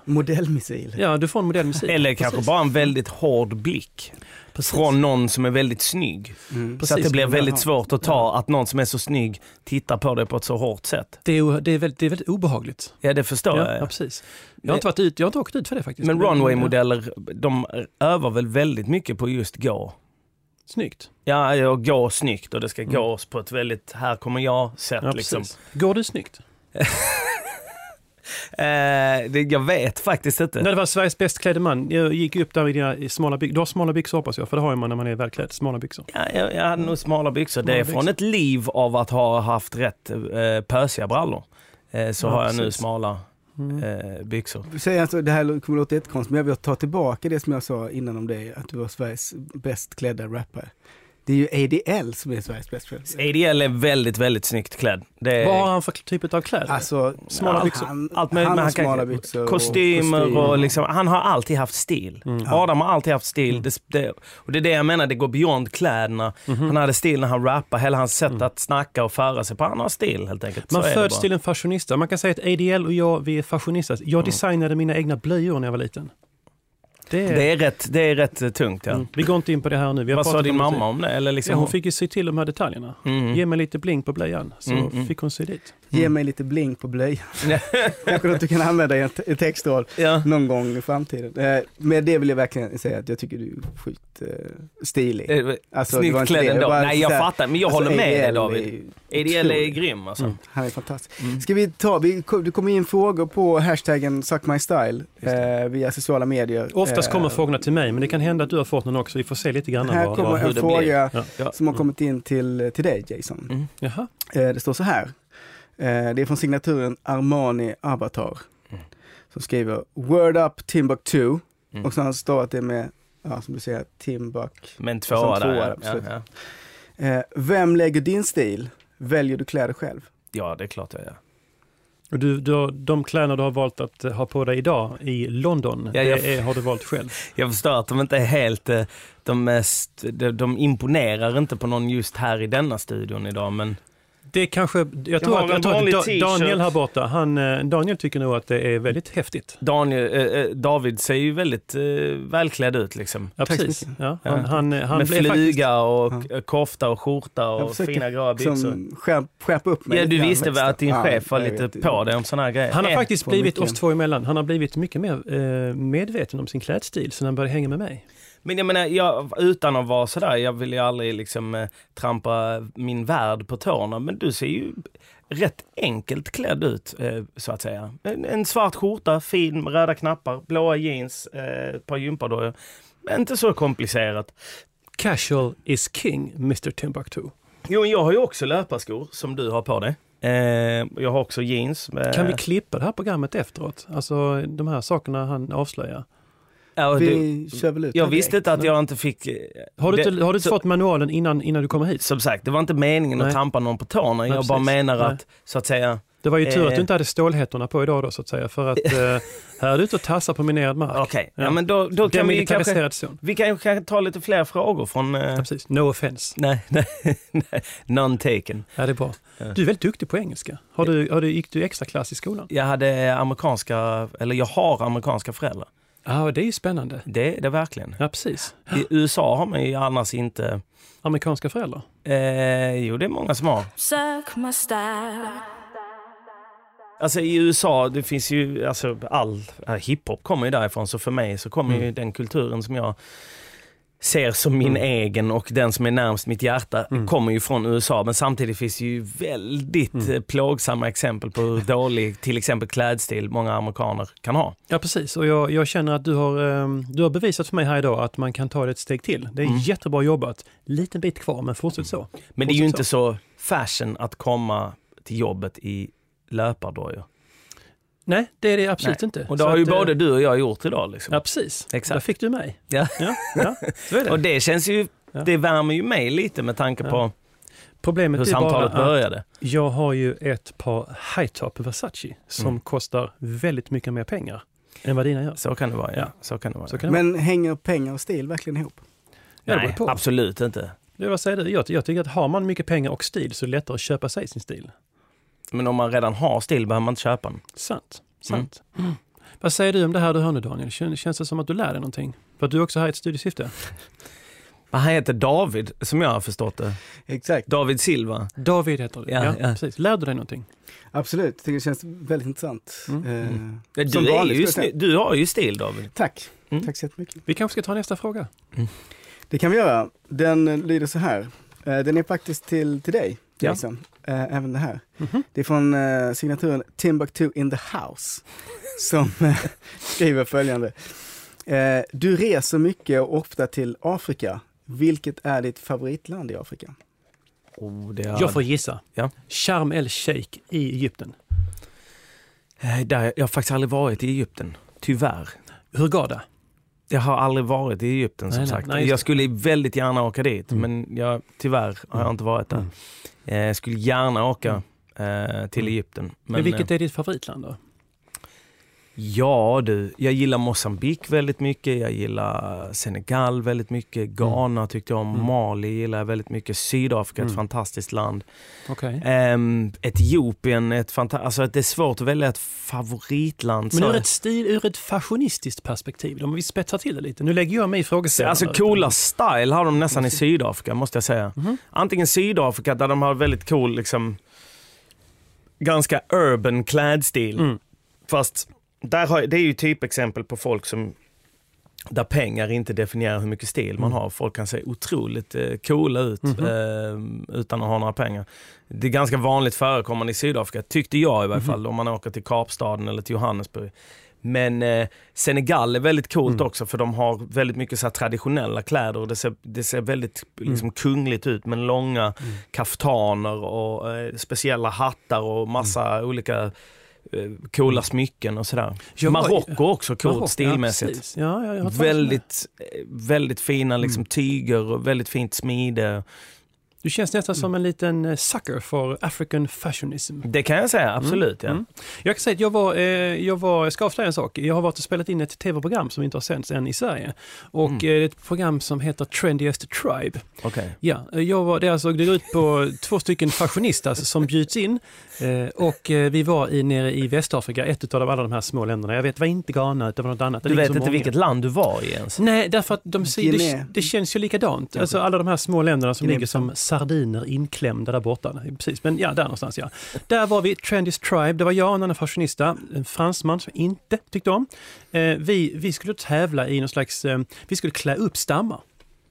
Speaker 4: Modellmissil.
Speaker 1: Ja, du får en modellmissil.
Speaker 2: Eller kanske
Speaker 1: Precis.
Speaker 2: bara en väldigt hård blick
Speaker 1: Precis.
Speaker 2: från någon som är väldigt snygg.
Speaker 4: Mm.
Speaker 2: så att det
Speaker 1: Precis.
Speaker 2: blir väldigt svårt att ta att någon som är så snygg tittar på dig på ett så hårt sätt.
Speaker 1: Det är, o- det är, väldigt, det är väldigt obehagligt.
Speaker 2: Ja, det förstår
Speaker 1: Ja, ja,
Speaker 2: jag.
Speaker 1: precis. Jag har, inte varit ut, jag har inte åkt ut för det faktiskt.
Speaker 2: Men runway-modeller, de övar väl väldigt mycket på just gå.
Speaker 1: Snyggt.
Speaker 2: Ja, jag går snyggt och det ska gås på ett väldigt här kommer jag-sätt.
Speaker 1: Mm. Ja,
Speaker 2: liksom.
Speaker 1: precis. Går du snyggt?
Speaker 2: eh, det, jag vet faktiskt inte.
Speaker 1: När det var Sveriges bäst klädde man, jag gick upp där i dina i smala byxor. Du har smala byxor hoppas jag, för det har ju man när man är välklädd. Smala byxor.
Speaker 2: Ja, jag, jag hade nog smala byxor.
Speaker 1: Smala
Speaker 2: det är från
Speaker 1: byxor.
Speaker 2: ett liv av att ha haft rätt eh, pösiga brallor. Eh, så
Speaker 1: Ja,
Speaker 2: har jag nu
Speaker 1: precis.
Speaker 2: smala
Speaker 1: Mm.
Speaker 2: eh, byxor.
Speaker 4: Säg alltså, det här kommer låta jättekonstigt, men jag vill ta tillbaka det som jag sa innan om dig, att du var Sveriges bäst klädda rappare. Det är ju ADL som är Sveriges bäst klädda.
Speaker 2: ADL är väldigt, väldigt snyggt klädd. Det är
Speaker 1: Vad har han för typ av kläder?
Speaker 4: Alltså,
Speaker 1: Smala
Speaker 4: han-
Speaker 1: byxor.
Speaker 4: Han,
Speaker 2: Allt möjligt,
Speaker 4: han
Speaker 2: men
Speaker 4: har
Speaker 2: han kan-
Speaker 4: smala byxor.
Speaker 2: kostymer
Speaker 4: kostym.
Speaker 2: och liksom, han har alltid haft stil.
Speaker 1: Mm.
Speaker 2: Adam har alltid haft stil. Det, det, och det är det jag menar, det går beyond kläderna.
Speaker 1: Mhm.
Speaker 2: Han hade stil när han rappade, hela hans sätt att snacka och föra sig på. Han har stil helt enkelt.
Speaker 1: Mm. Man
Speaker 2: Så är det
Speaker 1: föds
Speaker 2: bara.
Speaker 1: till en fashionista. Man kan säga att ADL och jag, vi är fashionister. Jag
Speaker 2: Mm.
Speaker 1: designade mina egna blöjor när jag var liten. Det är...
Speaker 2: Det är rätt, det är rätt eh, tungt ja.
Speaker 1: Mm. Vi går inte in på det här nu. Vi har
Speaker 2: Vad sa
Speaker 1: pratat
Speaker 2: din
Speaker 1: om det
Speaker 2: mamma
Speaker 1: tidigare.
Speaker 2: om det? Eller liksom,
Speaker 1: Ja, hon fick ju sy till de här detaljerna.
Speaker 2: Mm.
Speaker 1: Ge mig lite bling på blöjan, så
Speaker 2: Mm, mm.
Speaker 1: fick hon sy dit.
Speaker 4: Ge mig lite bling på blöjan. Kanske något du kan använda i en te- i textroll
Speaker 2: Ja.
Speaker 4: någon gång i framtiden. Eh, Men det vill jag verkligen säga att jag tycker du är sjukt eh, stilig.
Speaker 2: Eh,
Speaker 4: Alltså, det var
Speaker 2: Snyggt
Speaker 4: inte
Speaker 2: klädd
Speaker 4: det.
Speaker 2: ändå.
Speaker 4: Bara
Speaker 2: Nej jag
Speaker 4: så här-
Speaker 2: fattar, men jag
Speaker 4: Alltså,
Speaker 2: håller med dig
Speaker 4: ADL
Speaker 2: David.
Speaker 4: är
Speaker 2: ADL är
Speaker 4: otrolig.
Speaker 2: grym alltså.
Speaker 1: Mm.
Speaker 4: Han är fantastisk. Ska vi ta, vi, kom- det kommer in frågor på hashtaggen suckmystyle eh, via sociala medier.
Speaker 1: Oftast
Speaker 4: Eh,
Speaker 1: kommer frågorna till mig, men det kan hända att du har fått någon också. Vi får se lite grann.
Speaker 4: Här
Speaker 1: vad-
Speaker 4: kommer
Speaker 1: vad-
Speaker 2: hur
Speaker 4: en
Speaker 2: det blir.
Speaker 4: fråga
Speaker 1: Ja. Ja.
Speaker 4: som har kommit in till, till dig Jason.
Speaker 2: Mm.
Speaker 1: Jaha.
Speaker 4: Eh, Det står så här. Eh, Det är från signaturen Armani Avatar. Som skriver Word up Timbuktu.
Speaker 2: Mm.
Speaker 4: Och sen har han stavat det med, ja, som du säger, Timbuk.
Speaker 2: Men
Speaker 4: Som
Speaker 2: tvåa
Speaker 4: tvåa,
Speaker 2: där ja. Ja,
Speaker 4: absolut.
Speaker 2: ja.
Speaker 4: Eh, Vem lägger din stil? Väljer du kläder själv?
Speaker 2: ja det är klart jag gör.
Speaker 1: Och du, du, har- de kläder du har valt att eh, ha på dig idag i London,
Speaker 2: Ja, jag-
Speaker 1: det är, har du valt själv.
Speaker 2: Jag förstår att de inte är helt, eh, de, mest, de, de imponerar inte på någon just här i denna studion idag men
Speaker 1: Det är kanske, jag tror
Speaker 2: har
Speaker 1: att,
Speaker 2: en
Speaker 1: jag tror att
Speaker 2: vanlig
Speaker 1: da,
Speaker 2: t-shirt.
Speaker 1: Daniel här borta, han, eh, Daniel tycker nog att det är väldigt häftigt.
Speaker 2: Daniel, eh, eh, David ser ju väldigt eh, välklädd ut liksom.
Speaker 1: Ja,
Speaker 4: Tack så
Speaker 1: precis.
Speaker 4: mycket.
Speaker 1: Ja, han,
Speaker 2: Ja.
Speaker 1: han, eh, han
Speaker 2: Med
Speaker 1: blev faktiskt...
Speaker 2: fluga och k- kofta och skjorta
Speaker 4: Jag
Speaker 2: och
Speaker 4: försöker
Speaker 2: fina gråa byxor.
Speaker 4: Som skärp, skärp upp mig
Speaker 2: Ja,
Speaker 4: lite
Speaker 2: du
Speaker 4: grann
Speaker 2: visste väl
Speaker 4: extra.
Speaker 2: att din
Speaker 4: Ja,
Speaker 2: chef var
Speaker 4: jag
Speaker 2: lite
Speaker 4: vet.
Speaker 2: på dig om sådana här grejer?
Speaker 1: Han har
Speaker 2: Eh,
Speaker 1: faktiskt
Speaker 4: på
Speaker 1: blivit,
Speaker 4: mycket.
Speaker 1: oss två emellan, han har blivit mycket mer eh, medveten om sin klädstil sen han började hänga med mig.
Speaker 2: Men jag menar, jag, utan att vara sådär, jag vill ju aldrig liksom eh, trampa min värld på tårna, men du ser ju rätt enkelt klädd ut, eh, så att säga. En, en svart skjorta, fin, med röda knappar, blåa jeans, eh, ett par gympadojor. Inte så komplicerat.
Speaker 1: Casual is king, Mr Timbuktu.
Speaker 2: Jo, men jag har ju också löparskor som du har på dig. Eh, jag har också jeans. eh,
Speaker 1: Kan vi klippa det här programmet efteråt? Alltså de här sakerna han avslöjar.
Speaker 2: ja, och du,
Speaker 4: Vi kör väl ut
Speaker 2: jag
Speaker 4: här
Speaker 2: visste
Speaker 4: direkt.
Speaker 2: inte att jag inte fick... eh,
Speaker 1: Har du
Speaker 2: det-
Speaker 1: inte, har du inte
Speaker 2: så-
Speaker 1: fått manualen innan, innan du kom hit?
Speaker 2: Som sagt, det var inte meningen
Speaker 1: Nej.
Speaker 2: att trampa någon på tårna. jag bara
Speaker 1: precis.
Speaker 2: menar
Speaker 1: Nej.
Speaker 2: att, så att säga,
Speaker 1: Det var ju tur
Speaker 2: Eh.
Speaker 1: att du inte hade stålhättorna på idag då så att säga. För att eh, här är du ute och tassar på minerad mark.
Speaker 2: Okej,
Speaker 1: Ja.
Speaker 2: ja, men då, då kan vi kanske,
Speaker 1: Demilitariserad zon.
Speaker 2: vi kan kanske ta lite fler frågor från... eh,
Speaker 1: Ja, precis. No offense.
Speaker 2: nej, nej, nej, none taken.
Speaker 1: Ja, det är bra.
Speaker 2: Ja.
Speaker 1: Du är väldigt duktig på engelska. Har du, har du, gick du extra klass i skolan?
Speaker 2: Jag hade amerikanska, eller jag har amerikanska föräldrar.
Speaker 1: Ja, det är ju spännande.
Speaker 2: Det, det är verkligen.
Speaker 1: Ja, precis.
Speaker 2: I USA har man ju annars inte...
Speaker 1: Amerikanska föräldrar.
Speaker 2: Eh, jo, det är många som har.
Speaker 5: Suck my style.
Speaker 2: Alltså i USA, det finns ju, alltså all äh, hiphop kommer ju därifrån, så för mig så kommer
Speaker 1: Mm.
Speaker 2: ju den kulturen som jag ser som min egen och den som är närmst mitt hjärta
Speaker 1: Mm.
Speaker 2: kommer ju från USA. Men samtidigt finns det ju väldigt
Speaker 1: Mm.
Speaker 2: eh, plågsamma exempel på hur dålig till exempel klädstil många amerikaner kan ha.
Speaker 1: Ja, precis. Och jag, jag känner att du har, ehm, du har bevisat för mig här idag att man kan ta det ett steg till. Det är
Speaker 2: Mm.
Speaker 1: jättebra jobbat. Liten bit kvar, men fortsätt så.
Speaker 2: Men det är ju inte så fashion att komma till jobbet i löpardojor.
Speaker 1: Nej, det är det absolut inte.
Speaker 2: Och det
Speaker 1: Så
Speaker 2: har ju
Speaker 1: att, eh,
Speaker 2: både du och jag gjort idag. Liksom.
Speaker 1: Ja, precis.
Speaker 2: Exakt.
Speaker 1: Där fick du mig.
Speaker 2: Ja.
Speaker 1: Ja, ja, så är det.
Speaker 2: Och det känns ju,
Speaker 1: Ja.
Speaker 2: det värmer ju mig lite med tanke
Speaker 1: Ja.
Speaker 2: på
Speaker 1: Problemet
Speaker 2: hur
Speaker 1: är bara
Speaker 2: samtalet
Speaker 1: att
Speaker 2: började.
Speaker 1: jag har ju ett par high top Versace som
Speaker 2: Mm.
Speaker 1: kostar väldigt mycket mer pengar än vad dina gör.
Speaker 2: Så kan det vara, ja.
Speaker 1: Ja.
Speaker 2: Mm. Så kan det vara.
Speaker 1: Så kan det
Speaker 4: Men hänger pengar och stil verkligen ihop?
Speaker 1: vara.
Speaker 2: Nej,
Speaker 1: Nej, på.
Speaker 2: absolut inte.
Speaker 1: Det, vad säger du? Jag, jag tycker att har man mycket pengar och stil så är det lättare att köpa sig sin stil.
Speaker 2: Men om man redan har stil behöver man inte köpa den.
Speaker 1: Sant. Sant. Mm. Vad säger du om det här du hör nu Daniel? Kän- Känns det som att du lär dig någonting? För att du är också här i ett studiesyfte.
Speaker 2: Men han heter David, som jag har förstått det.
Speaker 4: Exakt,
Speaker 2: David Silva.
Speaker 1: David heter du.
Speaker 2: Ja, ja.
Speaker 1: Precis. Lär du dig någonting?
Speaker 4: absolut. Jag tycker det känns väldigt intressant.
Speaker 1: Mm.
Speaker 4: Eh,
Speaker 2: Du,
Speaker 4: Som vanligt,
Speaker 2: är ju
Speaker 4: ska jag
Speaker 2: sny- du har ju stil David.
Speaker 4: Tack,
Speaker 2: Mm.
Speaker 4: tack så jättemycket.
Speaker 1: Vi kanske ska ta nästa fråga?
Speaker 4: Det kan vi göra. Den eh, lyder så här. Eh, Den är faktiskt till, till dig,
Speaker 1: Ja.
Speaker 4: Jason. Eh, Även det här.
Speaker 1: Mhm.
Speaker 4: Det är från eh, signaturen Timbuktu in the house som eh, skriver följande. Eh, Du reser mycket och ofta till Afrika. Vilket är ditt favoritland i Afrika?
Speaker 2: Oh, det
Speaker 1: Jag får gissa.
Speaker 2: Ja.
Speaker 1: Sharm el Sheikh i Egypten.
Speaker 2: Eh, Där, jag har faktiskt aldrig varit i Egypten, tyvärr.
Speaker 1: Hur går det?
Speaker 2: Jag har aldrig varit i Egypten som
Speaker 1: Nej, nej,
Speaker 2: sagt.
Speaker 1: nej, just
Speaker 2: jag
Speaker 1: det.
Speaker 2: skulle väldigt gärna åka dit
Speaker 1: Mm.
Speaker 2: men jag, tyvärr har jag inte varit där. Eh, Jag skulle gärna åka eh, till
Speaker 1: Mm.
Speaker 2: Egypten. Men,
Speaker 1: Men
Speaker 2: eh,
Speaker 1: vilket är ditt favoritland då?
Speaker 2: Ja du, jag gillar Mosambik väldigt mycket, jag gillar Senegal väldigt mycket, Ghana tyckte jag om,
Speaker 1: Mm.
Speaker 2: Mali gillar jag väldigt mycket, Sydafrika ett
Speaker 1: Mm.
Speaker 2: fantastiskt land.
Speaker 1: Okej.
Speaker 2: Ehm, Etiopien, ett fanta- alltså att det är svårt att välja ett favoritland.
Speaker 1: Men
Speaker 2: så-
Speaker 1: ur ett stil, ur ett fashionistiskt perspektiv, om vi spetsar till det lite. Nu lägger jag mig i frågeställaren.
Speaker 2: Alltså coola style har de nästan i Sydafrika måste jag säga.
Speaker 1: Mhm.
Speaker 2: Antingen Sydafrika där de har väldigt cool, liksom, ganska urban klädstil.
Speaker 1: Mm.
Speaker 2: Fast där har, det är ju typexempel på folk som där pengar inte definierar hur mycket stil
Speaker 1: Mm.
Speaker 2: man har. Folk kan se otroligt eh, coola ut
Speaker 1: Mhm.
Speaker 2: eh, utan att ha några pengar. Det är ganska vanligt förekommande i Sydafrika, tyckte jag i varje
Speaker 1: Mhm.
Speaker 2: fall, om man åker till Kapstaden eller till Johannesburg. Men eh, Senegal är väldigt coolt
Speaker 1: Mm.
Speaker 2: också för de har väldigt mycket så här, traditionella kläder och det ser, det ser väldigt
Speaker 1: Mm.
Speaker 2: liksom, kungligt ut med långa kaftaner och eh, speciella hattar och massa
Speaker 1: Mm.
Speaker 2: olika eh, coola smycken och sådär.
Speaker 1: Jag var-
Speaker 2: Marocko också coolt
Speaker 1: Mm. Marocko, Ja,
Speaker 2: stilmässigt.
Speaker 1: precis. ja, ja, jag har hört talas om det.
Speaker 2: väldigt, eh, väldigt fina liksom,
Speaker 1: Mm.
Speaker 2: tyger och väldigt fint smide.
Speaker 1: Du känns nästan som en liten eh, sucker för African fashionism.
Speaker 2: Det kan jag säga, absolut. Ja.
Speaker 1: Mm. Jag kan säga att jag var, eh, jag var, jag ska avslöja en sak. Jag har varit och spelat in ett tv-program som inte har sänts än i Sverige.
Speaker 2: Mm.
Speaker 1: Och eh, det är ett program som heter Trendiest Tribe.
Speaker 2: Okej.
Speaker 1: Ja, eh, jag var, det, är alltså, det går ut på två stycken fashionistas som bjuds in. Eh, och eh, vi var i, nere i Västafrika, ett av alla de här små länderna. Jag vet, det var inte Ghana, utan det var något annat. Det
Speaker 2: Du
Speaker 1: ligger
Speaker 2: vet
Speaker 1: så
Speaker 2: inte
Speaker 1: många.
Speaker 2: vilket land du var i ens?
Speaker 1: Nej, därför att de säger,
Speaker 4: Guinea.
Speaker 1: det, det känns ju likadant. Alltså alla de här små länderna som
Speaker 4: Guinea
Speaker 1: ligger som sardiner inklämda där borta. Precis, men ja, där någonstans ja. Där var vi, Trendiest Tribe, det var jag och en annan fashionista, en fransman som jag inte tyckte om. Eh, vi, vi skulle tävla i någon slags, eh, vi skulle klä upp stammar.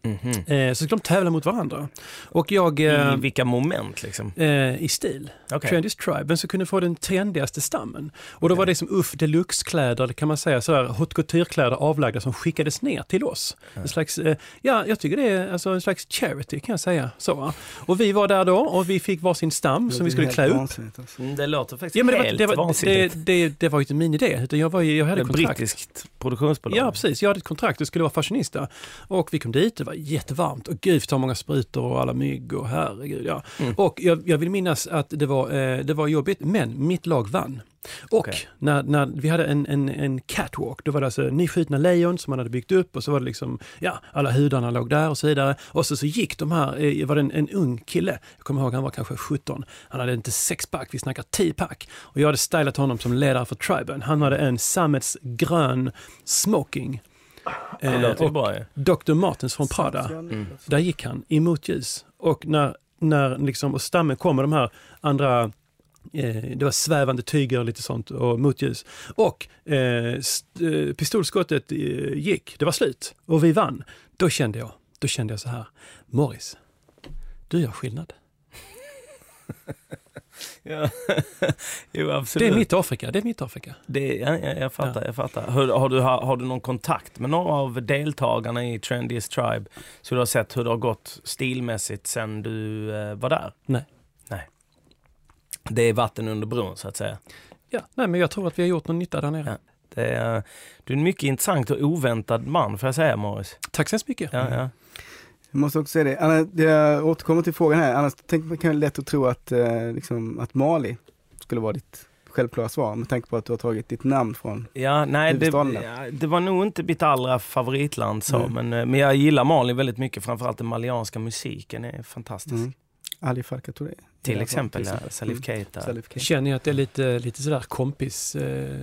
Speaker 2: Mhm.
Speaker 1: Eh, så skulle de tävla mot varandra. Och jag... Eh,
Speaker 2: I vilka moment liksom?
Speaker 1: eh, i stil.
Speaker 2: Mm. Okej.
Speaker 1: Trendiest Tribe, men så kunde få den trendigaste stammen. Och då var det som uff deluxe-kläder, kan man säga, sådär haute couture-kläder avlagda som skickades ner till oss. En slags, eh, ja, jag tycker det är alltså en slags charity kan jag säga. Så. va. Och vi var där då och vi fick varsin stam som vi skulle klä upp.
Speaker 4: alltså.
Speaker 2: Mm, Det låter faktiskt
Speaker 1: Ja, men det, var,
Speaker 2: helt
Speaker 1: det, var, det,
Speaker 2: vansinnigt.
Speaker 1: det, det var ju inte min idé, utan jag, var, ju- jag hade
Speaker 2: Ett
Speaker 1: kontrakt.
Speaker 2: brittiskt produktionsbolag.
Speaker 1: Ja, precis. Jag hade ett kontrakt, det skulle vara fashionista. Och vi kom dit, det var jättevarmt och gud, så många sprutor och alla mygg och herregud. Ja. Och jag, jag vill minnas att det var, eh, det var jobbigt, men mitt lag vann. Och
Speaker 2: Okej.
Speaker 1: när, när vi hade en, en, en catwalk, då var det alltså nyskjutna lejon som man hade byggt upp och så var det liksom, ja, alla hudarna låg där och så vidare. Och så, så gick de här, eh, var det en, en ung kille, jag kommer ihåg han var kanske 17, han hade inte sexpack, vi snackar 10-pack. Och jag hade stylat honom som ledare för triben. Han hade en sammetsgrön smoking.
Speaker 2: Det
Speaker 1: Eh,
Speaker 2: låter ju
Speaker 1: och
Speaker 2: bra ju.
Speaker 1: Dr. Martens från Prada. Där gick han emot ljus. Och när, när liksom, och stammen kommer de här andra, eh, det var svävande tyger och lite sånt och motljus. Och eh, st- eh, pistolskottet eh, gick, det var slut och vi vann. Då kände jag, då kände jag så här, Morris, du gör skillnad.
Speaker 2: Ja. jo,
Speaker 1: Det
Speaker 2: absolut.
Speaker 1: är mitt Afrika, det är mitt Afrika.
Speaker 2: Det, ja, ja, jag fattar. Jag fattar. Hur, har, du, har, har du någon kontakt med några av deltagarna i Trendiest Tribe? Så du har sett hur det har gått stilmässigt sen du eh, var där?
Speaker 1: Nej.
Speaker 2: Nej. Det är vatten under bron så att säga.
Speaker 1: Ja, nej, men jag tror att vi har gjort någon nytta där nere.
Speaker 2: Ja. Det är, du är en mycket intressant och oväntad man får jag säga Morris.
Speaker 1: Tack så hemskt mycket.
Speaker 2: Ja, ja.
Speaker 4: Jag måste också säga det, annars, jag återkommer till frågan här, annars tänker man kan ju lätt att tro att, eh, liksom, att Mali skulle vara ditt självklara svar med tanke på att du har tagit ditt namn från
Speaker 2: Ja, nej, det,
Speaker 4: Huvudstaden.
Speaker 2: ja, det var nog inte mitt allra favoritland så,
Speaker 4: Mm.
Speaker 2: men, eh, men jag gillar Mali väldigt mycket. Framförallt den malianska musiken är fantastisk.
Speaker 4: mm. Ali Farka Touré.
Speaker 2: Till exempel ja, Salif
Speaker 4: Mm.
Speaker 2: Keita,
Speaker 4: Salif Keita.
Speaker 1: Känner jag att det är lite, lite sådär kompis... Eh,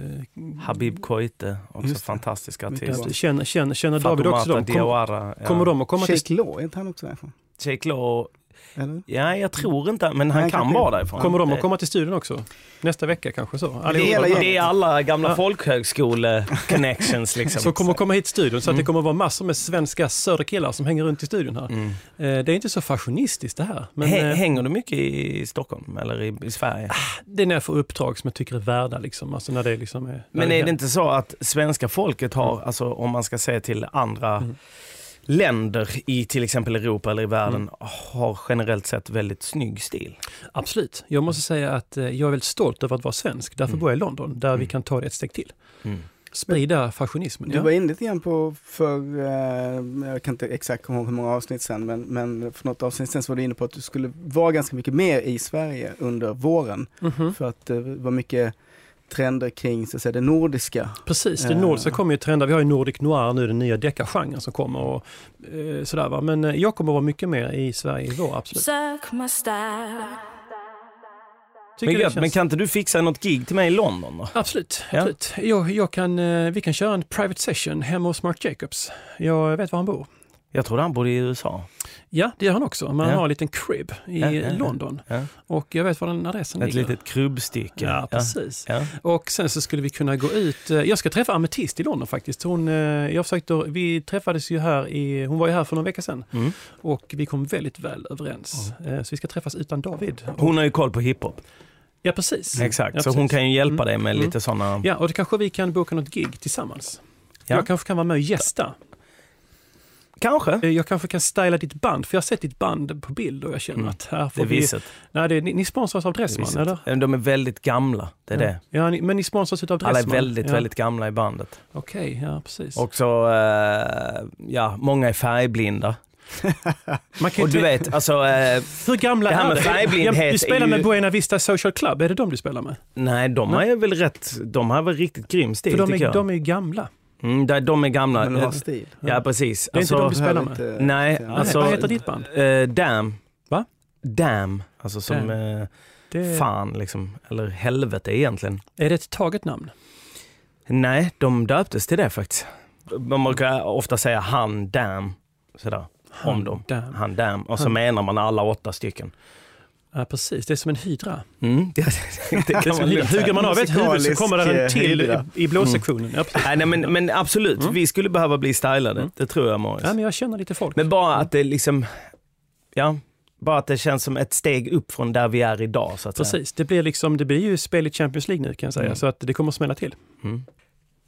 Speaker 2: Habib Koite, också
Speaker 4: Mm. Just det.
Speaker 2: fantastisk
Speaker 4: Mycket
Speaker 2: artist.
Speaker 4: bra.
Speaker 1: känner, känner, känner David
Speaker 2: Fatoumata
Speaker 1: också dem? Kom,
Speaker 2: Diawara. Ja.
Speaker 1: kommer de att komma till...
Speaker 4: Shake Law, är inte han också därifrån?
Speaker 2: Jake Law,
Speaker 4: Eller?
Speaker 2: Ja, jag tror inte, men han
Speaker 4: Mm. Nej,
Speaker 2: kan
Speaker 4: kanske
Speaker 2: vara
Speaker 4: inte.
Speaker 2: därifrån.
Speaker 1: Kommer de att
Speaker 2: Det-
Speaker 1: komma till studion också? Nästa vecka kanske så?
Speaker 2: Det
Speaker 1: Allihopa.
Speaker 2: är,
Speaker 3: Hela
Speaker 2: det är alla gamla folkhögskole-connections liksom.
Speaker 1: Som kommer komma hit till studion. Så att det kommer vara massor med svenska söderkillar som hänger runt i studion här.
Speaker 2: Mm.
Speaker 1: Eh, Det är inte så fashionistiskt det här. Men
Speaker 2: Hä-
Speaker 1: eh,
Speaker 2: Hänger du mycket i Stockholm eller i, i Sverige?
Speaker 1: det är när jag får uppdrag som jag tycker är värda. Liksom. Alltså när det liksom är, när
Speaker 2: Men är det
Speaker 1: händer.
Speaker 2: inte så att svenska folket har, alltså om man ska se till andra
Speaker 1: Mm.
Speaker 2: länder i till exempel Europa eller i världen,
Speaker 1: Mm.
Speaker 2: har generellt sett väldigt snygg stil?
Speaker 1: Absolut. Jag måste säga att eh, jag är väldigt stolt över att vara svensk. Därför
Speaker 2: Mm.
Speaker 1: bor jag i London, där vi
Speaker 2: Mm.
Speaker 1: kan ta det ett steg till. Sprida fashionismen.
Speaker 4: Du
Speaker 1: Ja.
Speaker 4: var inne lite grann på, för, eh, jag kan inte exakt komma ihåg hur många avsnitt sen, men, men för något avsnitt sen så var du inne på att du skulle vara ganska mycket mer i Sverige under våren.
Speaker 1: Mhm.
Speaker 4: För att det var mycket trender kring så att säga, det nordiska.
Speaker 1: Precis, det
Speaker 4: Eh.
Speaker 1: nordiska kommer ju trenda. Vi har ju Nordic Noir nu, den nya deckargenren som kommer och eh, sådär va. Men eh, jag kommer vara mycket mer i Sverige i vår, absolut.
Speaker 5: Sök my style.
Speaker 1: Tycker
Speaker 2: Men,
Speaker 1: det
Speaker 2: gött,
Speaker 1: känns-
Speaker 2: men kan inte du fixa något gig till mig i London då?
Speaker 1: Absolut.
Speaker 2: Ja.
Speaker 1: absolut. Jag, jag kan, eh, vi kan köra en private session hemma hos Mark Jacobs. Jag vet var han bor.
Speaker 2: Jag trodde han bodde i USA.
Speaker 1: Ja, det gör han också. Man
Speaker 2: Ja.
Speaker 1: har en liten crib i
Speaker 2: Ja, ja, ja.
Speaker 1: London.
Speaker 2: Ja.
Speaker 1: Och jag vet var den adressen
Speaker 2: Ett
Speaker 1: ligger.
Speaker 2: litet krubbstycke.
Speaker 1: Ja, precis.
Speaker 2: Ja.
Speaker 1: Och sen så skulle vi kunna gå ut. eh, Jag ska träffa Ametist i London faktiskt. Hon, eh, jag försökte, vi träffades ju här i, hon var ju här för någon vecka sedan
Speaker 2: Mm.
Speaker 1: och vi kom väldigt väl överens. Eh, Så vi ska träffas utan David.
Speaker 2: Hon har ju koll på hiphop.
Speaker 1: Ja, precis.
Speaker 2: Exakt,
Speaker 1: Mm. Ja,
Speaker 2: så
Speaker 1: precis.
Speaker 2: hon kan ju hjälpa
Speaker 1: Mm.
Speaker 2: dig med
Speaker 1: Mm.
Speaker 2: lite sådana...
Speaker 1: Ja, och då kanske vi kan boka något gig tillsammans.
Speaker 2: Ja.
Speaker 1: Jag kanske kan vara med och gästa.
Speaker 2: Kanske.
Speaker 1: Eh, Jag kanske kan styla ditt band, för jag har sett ditt band på bild och jag känner
Speaker 2: Mm.
Speaker 1: att här får
Speaker 2: Det är
Speaker 1: vi...
Speaker 2: viset.
Speaker 1: Nej, det, är- ni, ni sponsras av Dressman, eller?
Speaker 2: De är väldigt gamla, det är det.
Speaker 1: Ja, ni, men ni sponsras utav Dressman?
Speaker 2: Alla är väldigt,
Speaker 1: ja.
Speaker 2: väldigt gamla i bandet.
Speaker 1: Okej, ja precis.
Speaker 2: Och så, eh, ja, många är färgblinda.
Speaker 1: Man kan ju
Speaker 2: Och du
Speaker 1: tänka-
Speaker 2: vet, alltså, eh,
Speaker 1: Hur gamla
Speaker 2: Det här
Speaker 1: är
Speaker 2: med
Speaker 1: det?
Speaker 2: färgblindhet
Speaker 1: du spelar
Speaker 2: är ju-
Speaker 1: med Buena Vista Social Club, är det de du spelar med?
Speaker 2: nej de är väl rätt, de har väl riktigt grym stil
Speaker 1: För de
Speaker 2: tycker
Speaker 1: är,
Speaker 2: jag.
Speaker 1: de är ju gamla.
Speaker 2: Mm, de, de är gamla.
Speaker 4: Men de har
Speaker 2: Eh,
Speaker 4: stil.
Speaker 2: Ja, precis. Alltså,
Speaker 1: Det är inte de vi spelar
Speaker 4: Behöver
Speaker 1: med.
Speaker 4: inte-
Speaker 2: nej,
Speaker 4: Nej,
Speaker 2: alltså...
Speaker 1: vad heter ditt band?
Speaker 2: Eh, Damn.
Speaker 1: Va?
Speaker 2: Damn. Alltså som
Speaker 1: Damn.
Speaker 2: eh,
Speaker 1: Det,
Speaker 2: fan liksom, eller helvete egentligen.
Speaker 1: Är det ett taget namn?
Speaker 2: Nej, de döptes till det faktiskt. Man brukar ofta säga han, damn, sådär. Om dem.
Speaker 1: Damn.
Speaker 2: Han, damn. Och så
Speaker 1: Han.
Speaker 2: menar man alla åtta stycken.
Speaker 1: Ja, precis. Det är som en hydra.
Speaker 2: Mm. Det, det
Speaker 1: Det är
Speaker 2: kan
Speaker 1: som
Speaker 2: man
Speaker 1: en hydra.
Speaker 2: lugnt säga.
Speaker 1: Hugger man av ett huvud så
Speaker 4: Musikalisk,
Speaker 1: kommer det en till
Speaker 4: hydra.
Speaker 1: Eh, i, i
Speaker 4: Mm.
Speaker 1: blåsektionen. Ja, precis.
Speaker 2: Nej, nej, men, men absolut,
Speaker 1: Mm.
Speaker 2: vi skulle behöva bli stylade.
Speaker 1: Mm.
Speaker 2: Det tror jag Morris.
Speaker 1: ja, men jag känner lite folk.
Speaker 2: Men bara att det liksom, ja, bara att det känns som ett steg upp från där vi är idag så att säga.
Speaker 1: Precis, det blir, liksom, det blir ju spel i Champions League nu kan jag säga,
Speaker 2: Mm.
Speaker 1: så att det kommer att smälla till.
Speaker 2: Mm.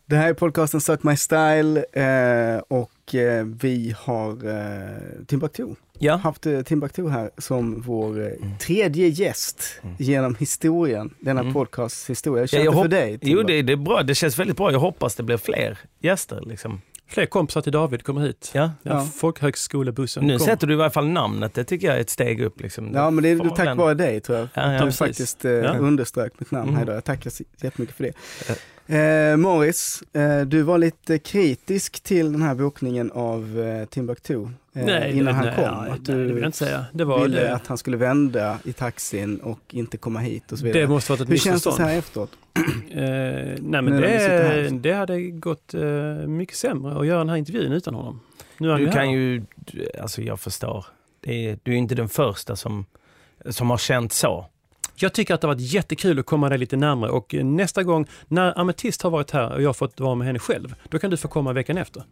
Speaker 4: Det här är podcasten Suck My Style eh, och eh, vi har eh, Timbuktu.
Speaker 2: Ja,
Speaker 4: haft eh, Timbuktu här som vår eh, tredje gäst genom historien, denna
Speaker 2: Mm.
Speaker 4: podcasts historia. Jag
Speaker 2: Ja,
Speaker 4: känner
Speaker 2: jag
Speaker 4: för
Speaker 2: hopp-
Speaker 4: dig.
Speaker 2: jo
Speaker 4: Timbuktu.
Speaker 2: det, det är bra. Det känns väldigt bra. Jag hoppas det blir fler gäster liksom.
Speaker 1: Fler kompisar till David kommer hit.
Speaker 2: Ja.
Speaker 1: Ja,
Speaker 4: Ja.
Speaker 1: Folkhögskolebussen
Speaker 2: Nu
Speaker 1: kommer.
Speaker 2: sätter du i varje fall namnet. Det tycker jag är ett steg upp liksom.
Speaker 4: Ja, men det är
Speaker 2: Får
Speaker 4: tack
Speaker 2: den-
Speaker 4: vare dig tror jag.
Speaker 2: Ja, ja,
Speaker 4: du
Speaker 2: precis.
Speaker 4: faktiskt eh,
Speaker 1: Ja.
Speaker 4: underströk mitt namn
Speaker 2: Mm.
Speaker 4: här idag. Jag tackar så jättemycket för det. Eh, Morris, eh, du var lite kritisk till den här bokningen av eh, Timbuktu eh,
Speaker 1: nej,
Speaker 4: innan han
Speaker 1: nej,
Speaker 4: kom.
Speaker 1: Nej,
Speaker 4: att
Speaker 1: nej, det
Speaker 4: du
Speaker 1: vill jag inte säga. Det var eh,
Speaker 4: ville
Speaker 1: det.
Speaker 4: att han skulle vända i taxin och inte komma hit och så vidare.
Speaker 1: Det måste varit ett
Speaker 4: Hur känns det
Speaker 1: missförstånd.
Speaker 4: så här efteråt?
Speaker 1: Eh, nej
Speaker 4: Nu
Speaker 1: men
Speaker 4: när vi sitter här. liksom.
Speaker 1: det, det hade gått eh, mycket sämre att göra den här intervjun utan honom. Nu är han
Speaker 2: Du
Speaker 1: här.
Speaker 2: kan ju, alltså jag förstår. Det är, du är ju inte den första som, som har känt så.
Speaker 1: Jag tycker att det har varit jättekul att komma dig lite närmare och eh, nästa gång när Ametist har varit här och jag har fått vara med henne själv, då kan du få komma veckan efter.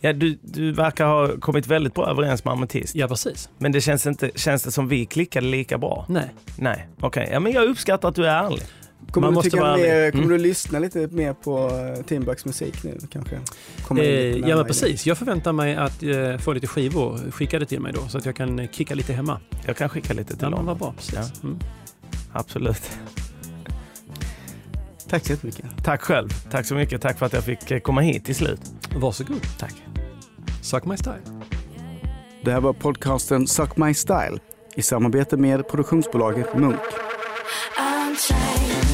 Speaker 2: Ja, du, du verkar ha kommit väldigt bra överens med Ametist.
Speaker 1: Ja precis.
Speaker 2: Men det känns, inte, känns det som vi klickade lika bra?
Speaker 1: Nej.
Speaker 2: Nej, okej. Ja, men jag uppskattar att du är ärlig.
Speaker 4: Kommer,
Speaker 1: Man
Speaker 4: du,
Speaker 1: måste
Speaker 4: tycka
Speaker 1: vara
Speaker 4: mer,
Speaker 1: ärlig.
Speaker 4: kommer
Speaker 2: Mm.
Speaker 4: du lyssna lite mer på eh, Timbukts musik nu kanske? Kommer in lite
Speaker 1: Eh, ja
Speaker 4: närmare
Speaker 1: men
Speaker 4: i
Speaker 1: precis. Jag förväntar mig att eh, få lite skivor skickade till mig då så att jag kan eh, kicka lite hemma.
Speaker 2: Jag kan skicka lite till
Speaker 1: Ja men
Speaker 2: honom.
Speaker 1: vad bra. Precis. Mm.
Speaker 2: Absolut.
Speaker 4: det. Tack så jättemycket.
Speaker 2: Tack själv. Tack så mycket. Tack för att jag fick eh, komma hit till slut.
Speaker 1: Varsågod.
Speaker 2: Tack.
Speaker 1: Suck my style.
Speaker 4: Det här var podcasten Suck My Style i samarbete med produktionsbolaget Munk.
Speaker 5: Unchained.